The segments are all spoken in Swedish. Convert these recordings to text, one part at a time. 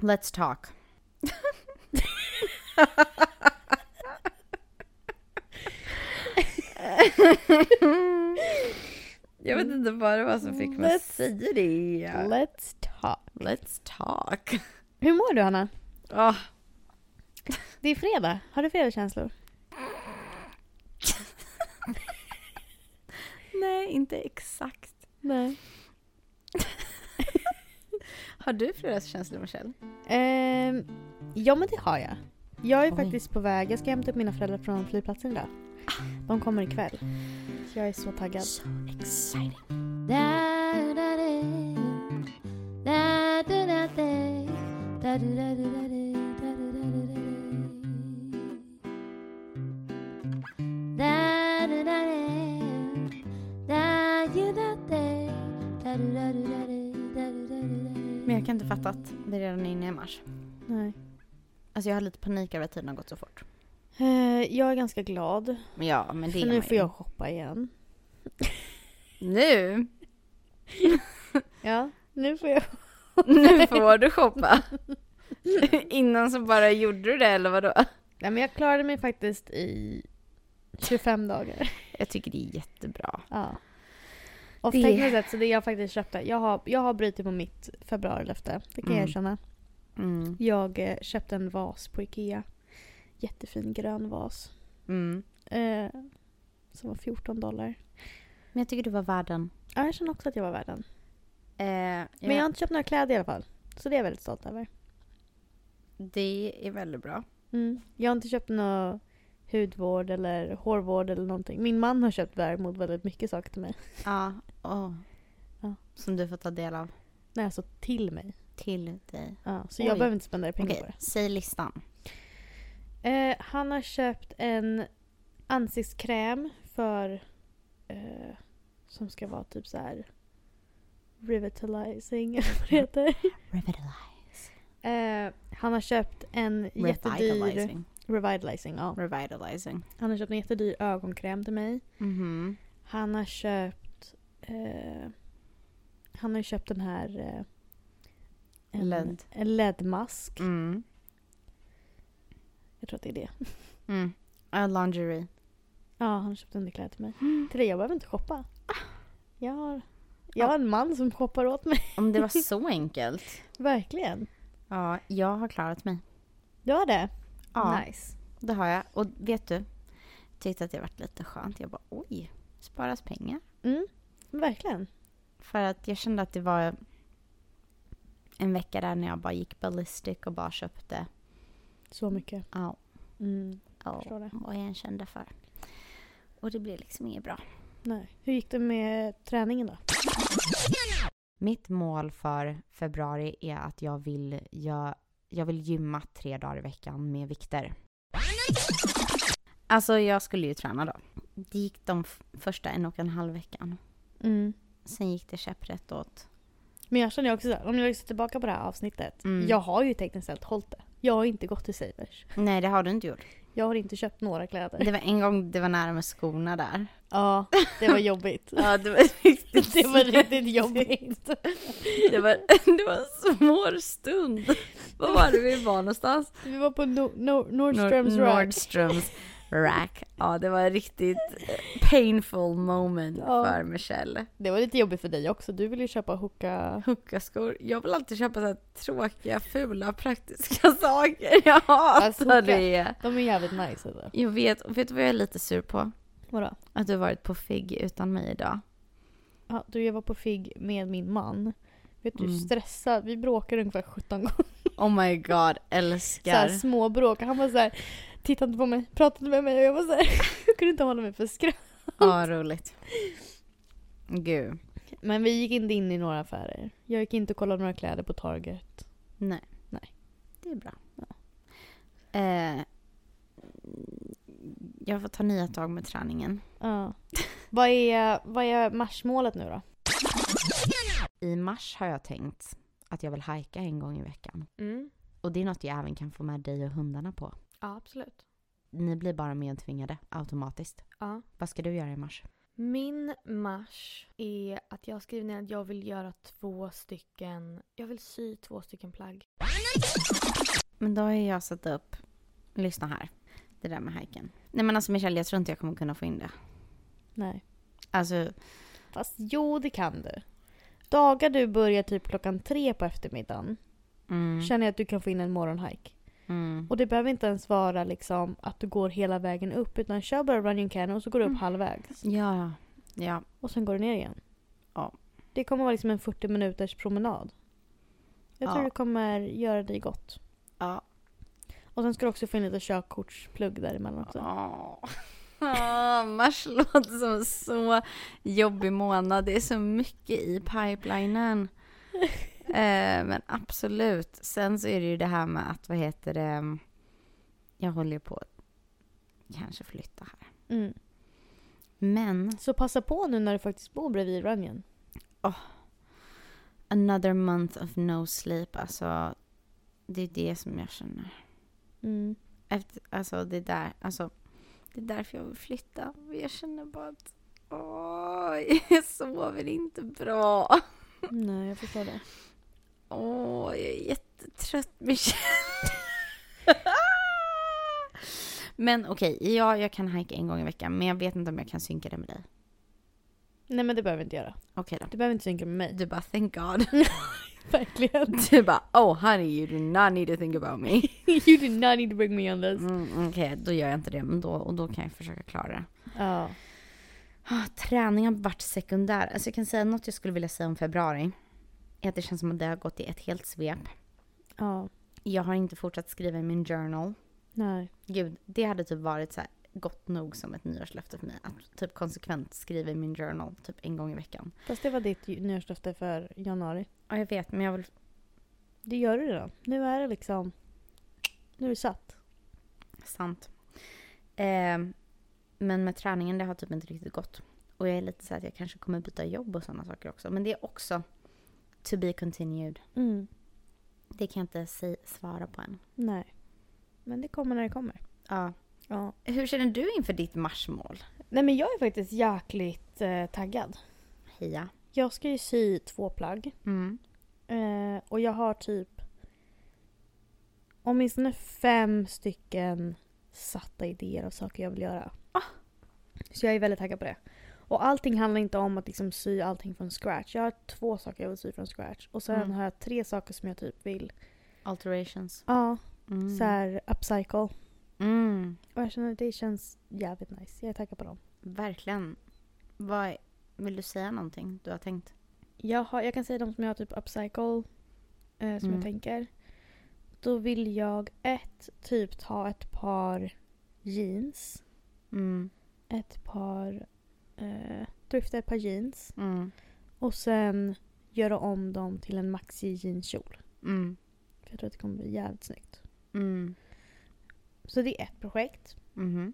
Let's talk. Jag vet inte vad det var som fick mig att Let's- säga det. Let's talk. Let's talk. Hur mår du, Hanna? Ah, Det är fredag. Har du fredagskänslor? nej, inte exakt. Nej. Har du fredagskänslor, Michelle? Ehm, ja, men det har jag. Jag är Oj. faktiskt på väg. Jag ska hämta upp mina föräldrar från flygplatsen idag. Ah. De kommer ikväll. Jag är så taggad. Exciting. Men jag kan inte fatta att vi redan är inne i mars. Nej. Alltså jag har lite panik över att tiden har gått så fort. Eh, jag är ganska glad. Men ja, men det För är nu man får ju. jag shoppa igen. Nu? Ja, nu får jag. Nu får du shoppa. Innan så bara gjorde du det eller vadå? Nej, men jag klarade mig faktiskt i 25 dagar. Jag tycker det är jättebra. Ja. Och Det- tekniskt sett, så det jag faktiskt köpte. Jag har, jag har brutit på mitt februarilöfte. Det kan Mm. jag erkänna. Mm. Jag eh, köpte en vas på Ikea. Jättefin grön vas. Mm. Eh, som var 14 dollar. Men jag tycker du var värd den. Ja, jag känner också att jag var värd den. Eh, jag Men jag har inte köpt några kläder i alla fall. Så det är jag väldigt stolt över. Det är väldigt bra. Mm. Jag har inte köpt någon hudvård eller hårvård eller någonting. Min man har köpt däremot väldigt mycket saker till mig. Ja. åh. Ja. Som du får ta del av Nej, alltså till mig. till dig. Ja, så Oj. jag behöver inte spendera pengar Okej, på det. säg listan. Eh, han har köpt en ansiktskräm för... Eh, som ska vara typ så här... Revitalizing, eller vad det Mm. heter. Eh, han har köpt en jättedyr... Revitalizing. Revitalizing, ja. Revitalizing. Han har köpt en jättedyr ögonkräm till mig. Mhm. Han har köpt... Eh, han har ju köpt den här... Eh, en, LED. En LED-mask. Mm. Jag tror att det är det. Mm. Uh, lingerie. Ja, han har köpt underkläder till mig. Till dig, jag behöver inte shoppa. Jag har, jag har en man som shoppar åt mig. Om det var så enkelt. Verkligen. Ja, jag har klarat mig. Du har det? Ja, Nice. det har jag. Och vet du? Tyckte att det varit lite skönt. Jag bara oj, sparas pengar. Mm, verkligen. För att jag kände att det var en vecka där när jag bara gick ballistic och bara köpte. Så mycket. Ja, Mm. ja, Förstår det. vad jag än kände för. Och det blev liksom inget bra. Nej. Hur gick det med träningen då? Mitt mål för februari är att jag vill, jag, jag vill gymma tre dagar i veckan med vikter. Alltså jag skulle ju träna då. Det gick de f- första en och en halv veckan. Mm. Sen gick det käpprätt åt. Men jag känner ju också så här, om jag ser tillbaka på det här avsnittet. Mm. Jag har ju tekniskt sett hållit det. Jag har inte gått till Savers. Nej det har du inte gjort. Jag har inte köpt några kläder. Det var en gång det var nära med skorna där. Ja, det var jobbigt. Ja det var riktigt Det var riktigt jobbigt. Det var, det var en svår stund. Vad var det vi var någonstans? Vi var på no- no- Nordströms Nord- Rack. Nordströms rack. Ja, det var ett riktigt eh, painful moment Ja. för Michelle. Det var lite jobbigt för dig också. Du ville ju köpa hookah. Huckaskor. Jag vill alltid köpa så här tråkiga, fula, praktiska saker. Jag hatar Fast Alltså, hucka- det. De är jävligt nice. Alltså. Jag vet, och vet du vad jag är lite sur på? Vadå? Att du har varit på FIG utan mig idag. Ja, du, jag var på FIG med min man. Vet du Mm. hur stressad, vi bråkade ungefär 17 gånger. Oh my god, Så här, älskar. små bråk. Han var så här, tittade inte på mig, pratade med mig och jag var så här, jag kunde inte hålla mig för skratt. Ja, roligt. Gud, Men vi gick inte in i några affärer. Jag gick inte och kollade några kläder på Target. nej. Nej. Det är bra. Eh, jag får ta nya tag med träningen. Ja. vad, är, vad är marsmålet nu då? I mars har jag tänkt att jag vill hajka en gång i veckan. Mm. Och det är något jag även kan få med dig och hundarna på. Ja, absolut. Ni blir bara medtvingade automatiskt. Ja. Vad ska du göra i mars? Min mars är att jag skriver ner att jag vill göra två stycken, jag vill sy två stycken plagg. Men då har jag satt upp, lyssna här, det där med hajken. Nej men alltså Michelle, jag tror inte jag kommer kunna få in det. Nej. Alltså, Fast jo, det kan du. Dagar du börjar typ klockan tre på eftermiddagen mm, känner jag att du kan få in en morgonhike. mm, Och det behöver inte ens vara liksom att du går hela vägen upp utan kör bara running can och så går du upp Mm. halvvägs. ja, ja, Och sen går du ner igen. Ja. Det kommer vara liksom en 40 minuters promenad. Jag tror Ja. det kommer göra dig gott. ja. Och sen ska du också få in lite körkortsplugg däremellan också. Åh. Åh, mars låter som en så jobbig månad. Det är så mycket i pipelinen. Eh, men absolut. Sen så är det ju det här med att, vad heter det, mm, jag håller ju på att kanske flytta här. Mm. Men, Så passa på nu när du faktiskt bor bredvid Runyon. another month of no sleep, alltså det är det som jag känner. Mm. Efter, alltså det är där, alltså det är därför jag vill flytta. Jag känner bara att, åh, jag sover inte bra. Nej, jag förstår det. Åh, jag är jättetrött Michelle. men okej, ja, jag kan hajka en gång i veckan men jag vet inte om jag kan synka det med dig. Nej men det behöver vi inte göra. Okej då. Du behöver inte synka med mig. Du bara thank God. Verkligen. Du bara oh honey you do not need to think about me. you did not need to bring me on this. Mm, okej, då gör jag inte det men då, och då kan jag försöka klara det. Ja. Ah, Träning har varit sekundär. Alltså jag kan säga något jag skulle vilja säga om februari. Är att det känns som att det har gått i ett helt svep. Ja. Jag har inte fortsatt skriva i min journal. Nej. Gud, det hade typ varit så här gott nog som ett nyårslöfte för mig. Att typ konsekvent skriva i min journal typ en gång i veckan. Fast det var ditt ju- nyårslöfte för januari. Ja, jag vet, men jag vill... Det gör du redan. Nu är det liksom... Nu är det satt. Sant. Eh, men med träningen, det har typ inte riktigt gått. Och jag är lite så här att jag kanske kommer byta jobb och sådana saker också. Men det är också to be continued. Mm. Det kan jag inte si- svara på än. Nej. Men det kommer när det kommer. Ja. Ja. Hur känner du inför ditt marsmål? Nej men jag är faktiskt jäkligt eh, taggad. Hia. Jag ska ju sy två plagg. Mm. Eh, och jag har typ åtminstone fem stycken satta idéer av saker jag vill göra. Så jag är väldigt taggad på det. Och allting handlar inte om att liksom sy allting från scratch. Jag har två saker jag vill sy från scratch. Och sen Mm. har jag tre saker som jag typ vill Alterations. ja, Mm. så här, upcycle. Mm. Och jag känner att det känns jävligt nice. Jag är taggad på dem. Verkligen. Vad, vill du säga någonting du har tänkt? Jag, har, jag kan säga de som jag har typ upcycle, eh, som Mm. jag tänker. Då vill jag ett, typ ta ett par jeans. Mm. Ett par, eh, drifta ett par jeans. Mm. Och sen göra om dem till en maxi jeanskjol. Mm. För jag tror att det kommer bli jävligt snyggt. Mm. Så det är ett projekt. Mhm.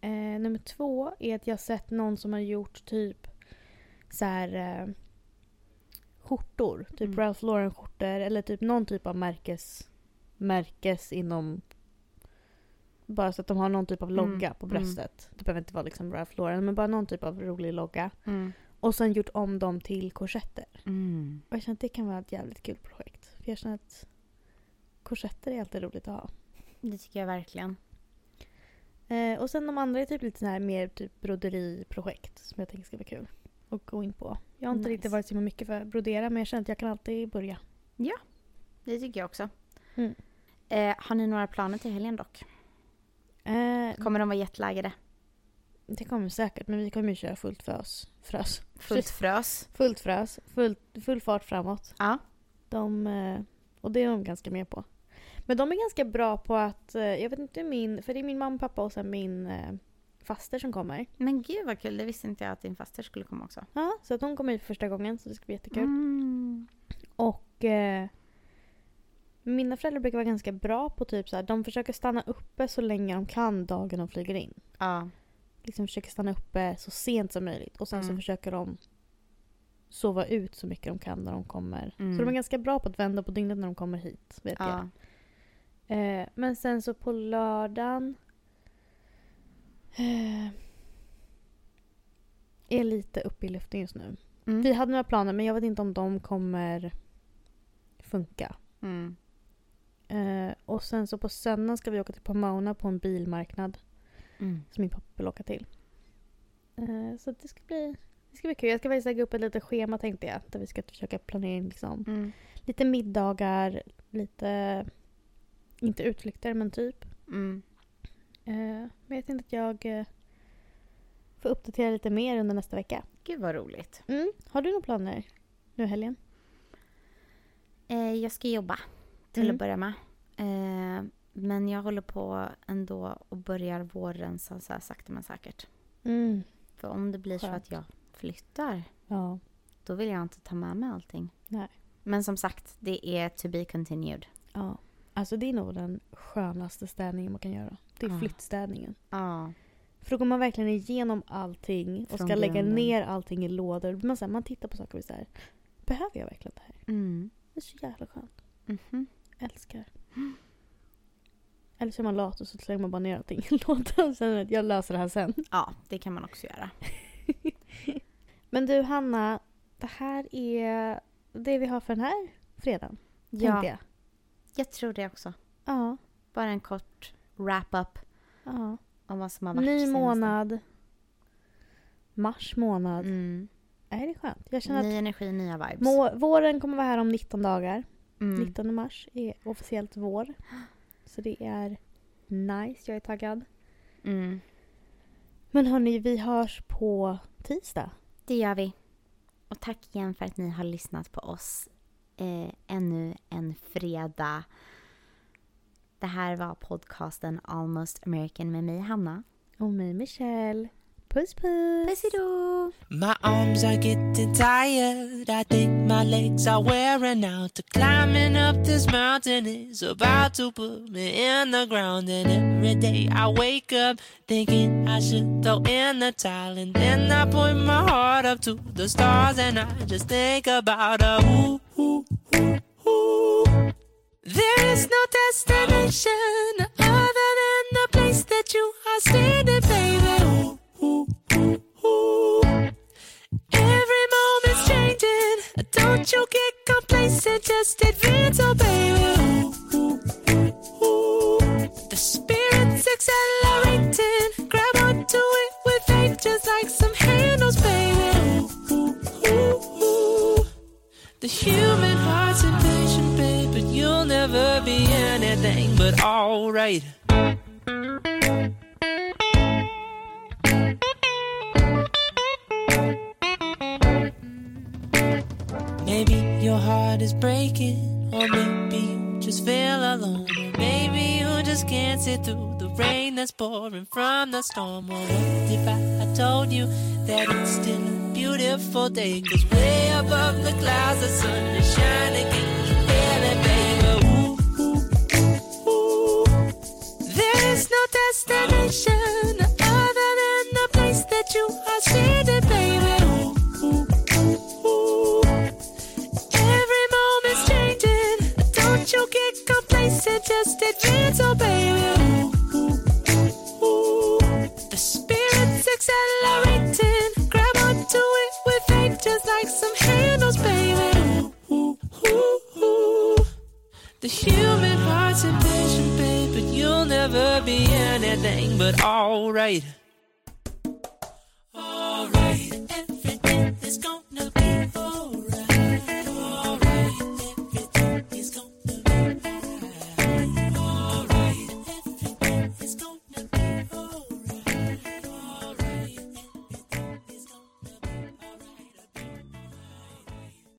Eh, nummer två är att jag har sett någon som har gjort typ så här eh, skjortor. Typ Mm. Ralph Lauren skjortor eller typ någon typ av märkes, märkes inom bara så att de har någon typ av Mm, logga på mm. bröstet. Det behöver inte vara liksom Ralph Lauren men bara någon typ av rolig logga. Mm. Och sen gjort om dem till korsetter. Mm. Och jag känner att det kan vara ett jävligt kul projekt. För jag känner att korsetter är alltid roligt att ha. Det tycker jag verkligen. Eh, och sen de andra är typ lite så här mer typ broderiprojekt som jag tänker ska vara kul att gå in på. Jag har inte Nice. riktigt varit så himla mycket för att brodera men jag känner att jag kan alltid börja. Det tycker jag också. Mm. Eh, har ni några planer till helgen dock? Eh, Kommer de vara jetlaggade? det kommer säkert men vi kommer ju köra fullt fös. Frös. Fullt frös? Fullt frös. Full, full fart framåt. Ja. De, eh, och det är de ganska med på. Men de är ganska bra på att, eh, jag vet inte hur min, för det är min mamma, pappa och sen min eh, faster som kommer. Men gud vad kul, det visste inte jag att din faster skulle komma också. Ja, så att de kommer hit för första gången så det ska bli jättekul. Mm. Och eh, mina föräldrar brukar vara ganska bra på typ så här, de försöker stanna uppe så länge de kan dagen de flyger in. Ja. Liksom försöker stanna uppe så sent som möjligt och sen så Mm. försöker de sova ut så mycket de kan när de kommer. Mm. Så de är ganska bra på att vända på dygnet när de kommer hit. Vet ja. jag. Eh, men sen så på lördagen eh, är lite uppe i luften just nu. Mm. Vi hade några planer men jag vet inte om de kommer funka. Mm. Eh, Och sen så på söndagen ska vi åka till Pomona på en bilmarknad Mm. som min pappa vill åka till. Eh, så det ska bli det ska bli kul. Jag ska faktiskt lägga upp ett litet schema tänkte jag. Där vi ska försöka planera in liksom, Mm. lite middagar, lite... Inte utflykter men typ. Mm. Eh, men jag tänkte att jag eh, får uppdatera lite mer under nästa vecka. Gud vad roligt. Mm. Har du några planer nu i helgen? Eh, jag ska jobba till Mm. att börja med. Eh, men jag håller på ändå och börjar våren så så här sakta men säkert. Mm. För om det blir så Skönt. att jag flyttar, Ja. då vill jag inte ta med mig allting. Nej. Men som sagt, det är to be continued. ja. Alltså det är nog den skönaste städningen man kan göra. Det är Ja. flyttstädningen. Ja. För då går man verkligen igenom allting och Från ska lägga grunden. ner allting i lådor. Då blir Man, så här, man tittar på saker och blir så här. Behöver jag verkligen det här? Mm. Det är så jävla skönt. Mhm. Älskar. Eller så är man lat och så slänger man bara ner allting i lådan. Sen vet jag, jag löser det här sen. Ja, det kan man också göra. Men du Hanna, det här är det vi har för den här fredagen. Ja, Tänkte jag. jag tror det också. Ja. Bara en kort wrap-up ja. om vad som har varit. Ny senaste- månad. Mars månad. Mm. Är det skönt? Jag känner att Ny energi, nya vibes. må- våren kommer vara här om 19 dagar. mm. 19 mars är officiellt vår. Så det är nice. Jag är taggad. Mm. Men hörni, vi hörs på tisdag. Det gör vi. Och tack igen för att ni har lyssnat på oss eh, ännu en fredag. Det här var podcasten Almost American med mig, Hanna. Och mig Michelle. Puss puss! Pussido! My arms are getting tired. I think my legs are wearing out. The climbing up this mountain is about to put me in the ground. And every day I wake up thinking I should throw in the towel. And then I point my heart up to the stars and I just think about a ooh, ooh, ooh, ooh. There is no destination other than the place that you are standing, baby. Ooh, ooh, ooh, ooh. Every moment's changing. Don't you get complacent, just advance, oh baby. Ooh, ooh, ooh, ooh. The spirit's accelerating. Grab onto it with faith, just like some handles, baby. Ooh, ooh, ooh, ooh. The human heart's impatient, babe, but you'll never be anything but alright. Maybe your heart is breaking, or maybe you just feel alone, or maybe you just can't see through the rain that's pouring from the storm. Or what if I told you that it's still a beautiful day? Cause way above the clouds, the sun is shining. Can you feel it, baby? Ooh, ooh, ooh. There is no destination other than the place that you are standing, baby. Ooh, ooh, ooh, ooh. Every moment's changing. Don't you get complacent, just advance, oh baby. Ooh, ooh, ooh. The spirit's accelerating. Grab onto it with faith, just like some handles, baby. Ooh, ooh, ooh, ooh. The human heart's impatient, babe, but you'll never be anything but alright.